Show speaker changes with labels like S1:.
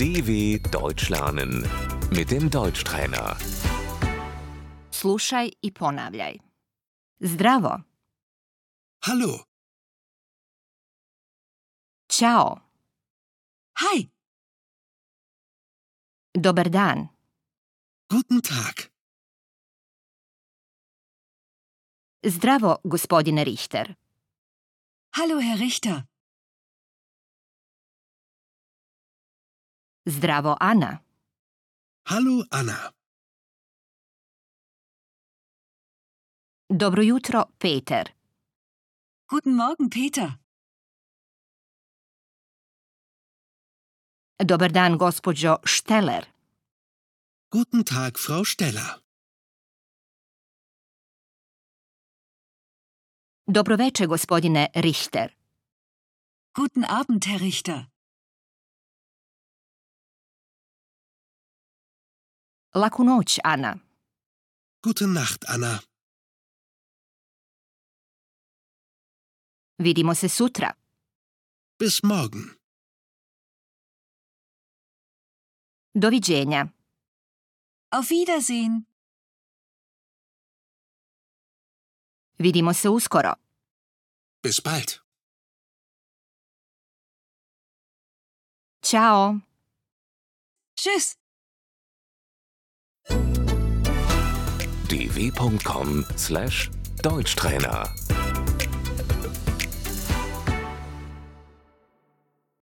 S1: DW Deutsch lernen mit dem Deutschtrainer.
S2: Slušaj i ponavljaj. Zdravo,
S3: Hallo,
S2: čao,
S4: Hi,
S2: dobar dan,
S3: guten Tag.
S2: zdravo gospodine Richter,
S4: hallo Herr Richter.
S2: zdravo Ana,
S3: Hallo, Anna.
S2: dobro jutro Peter,
S4: Guten Morgen, Peter.
S2: dobar dan gospođo Šteler,
S3: Guten Tag, Frau Steller.
S2: dobro veče gospodine Richter,
S4: Guten Abend, Herr Richter.
S2: laku noć Ana,
S3: Gute Nacht, Anna.
S2: vidimo se sutra.
S3: Bis morgen.
S2: Doviđenja.
S4: Auf Wiedersehen.
S2: Vidimo se uskoro.
S3: Bis bald.
S2: Ćao.
S4: Tschüss.
S1: dw.com/deutschtrainer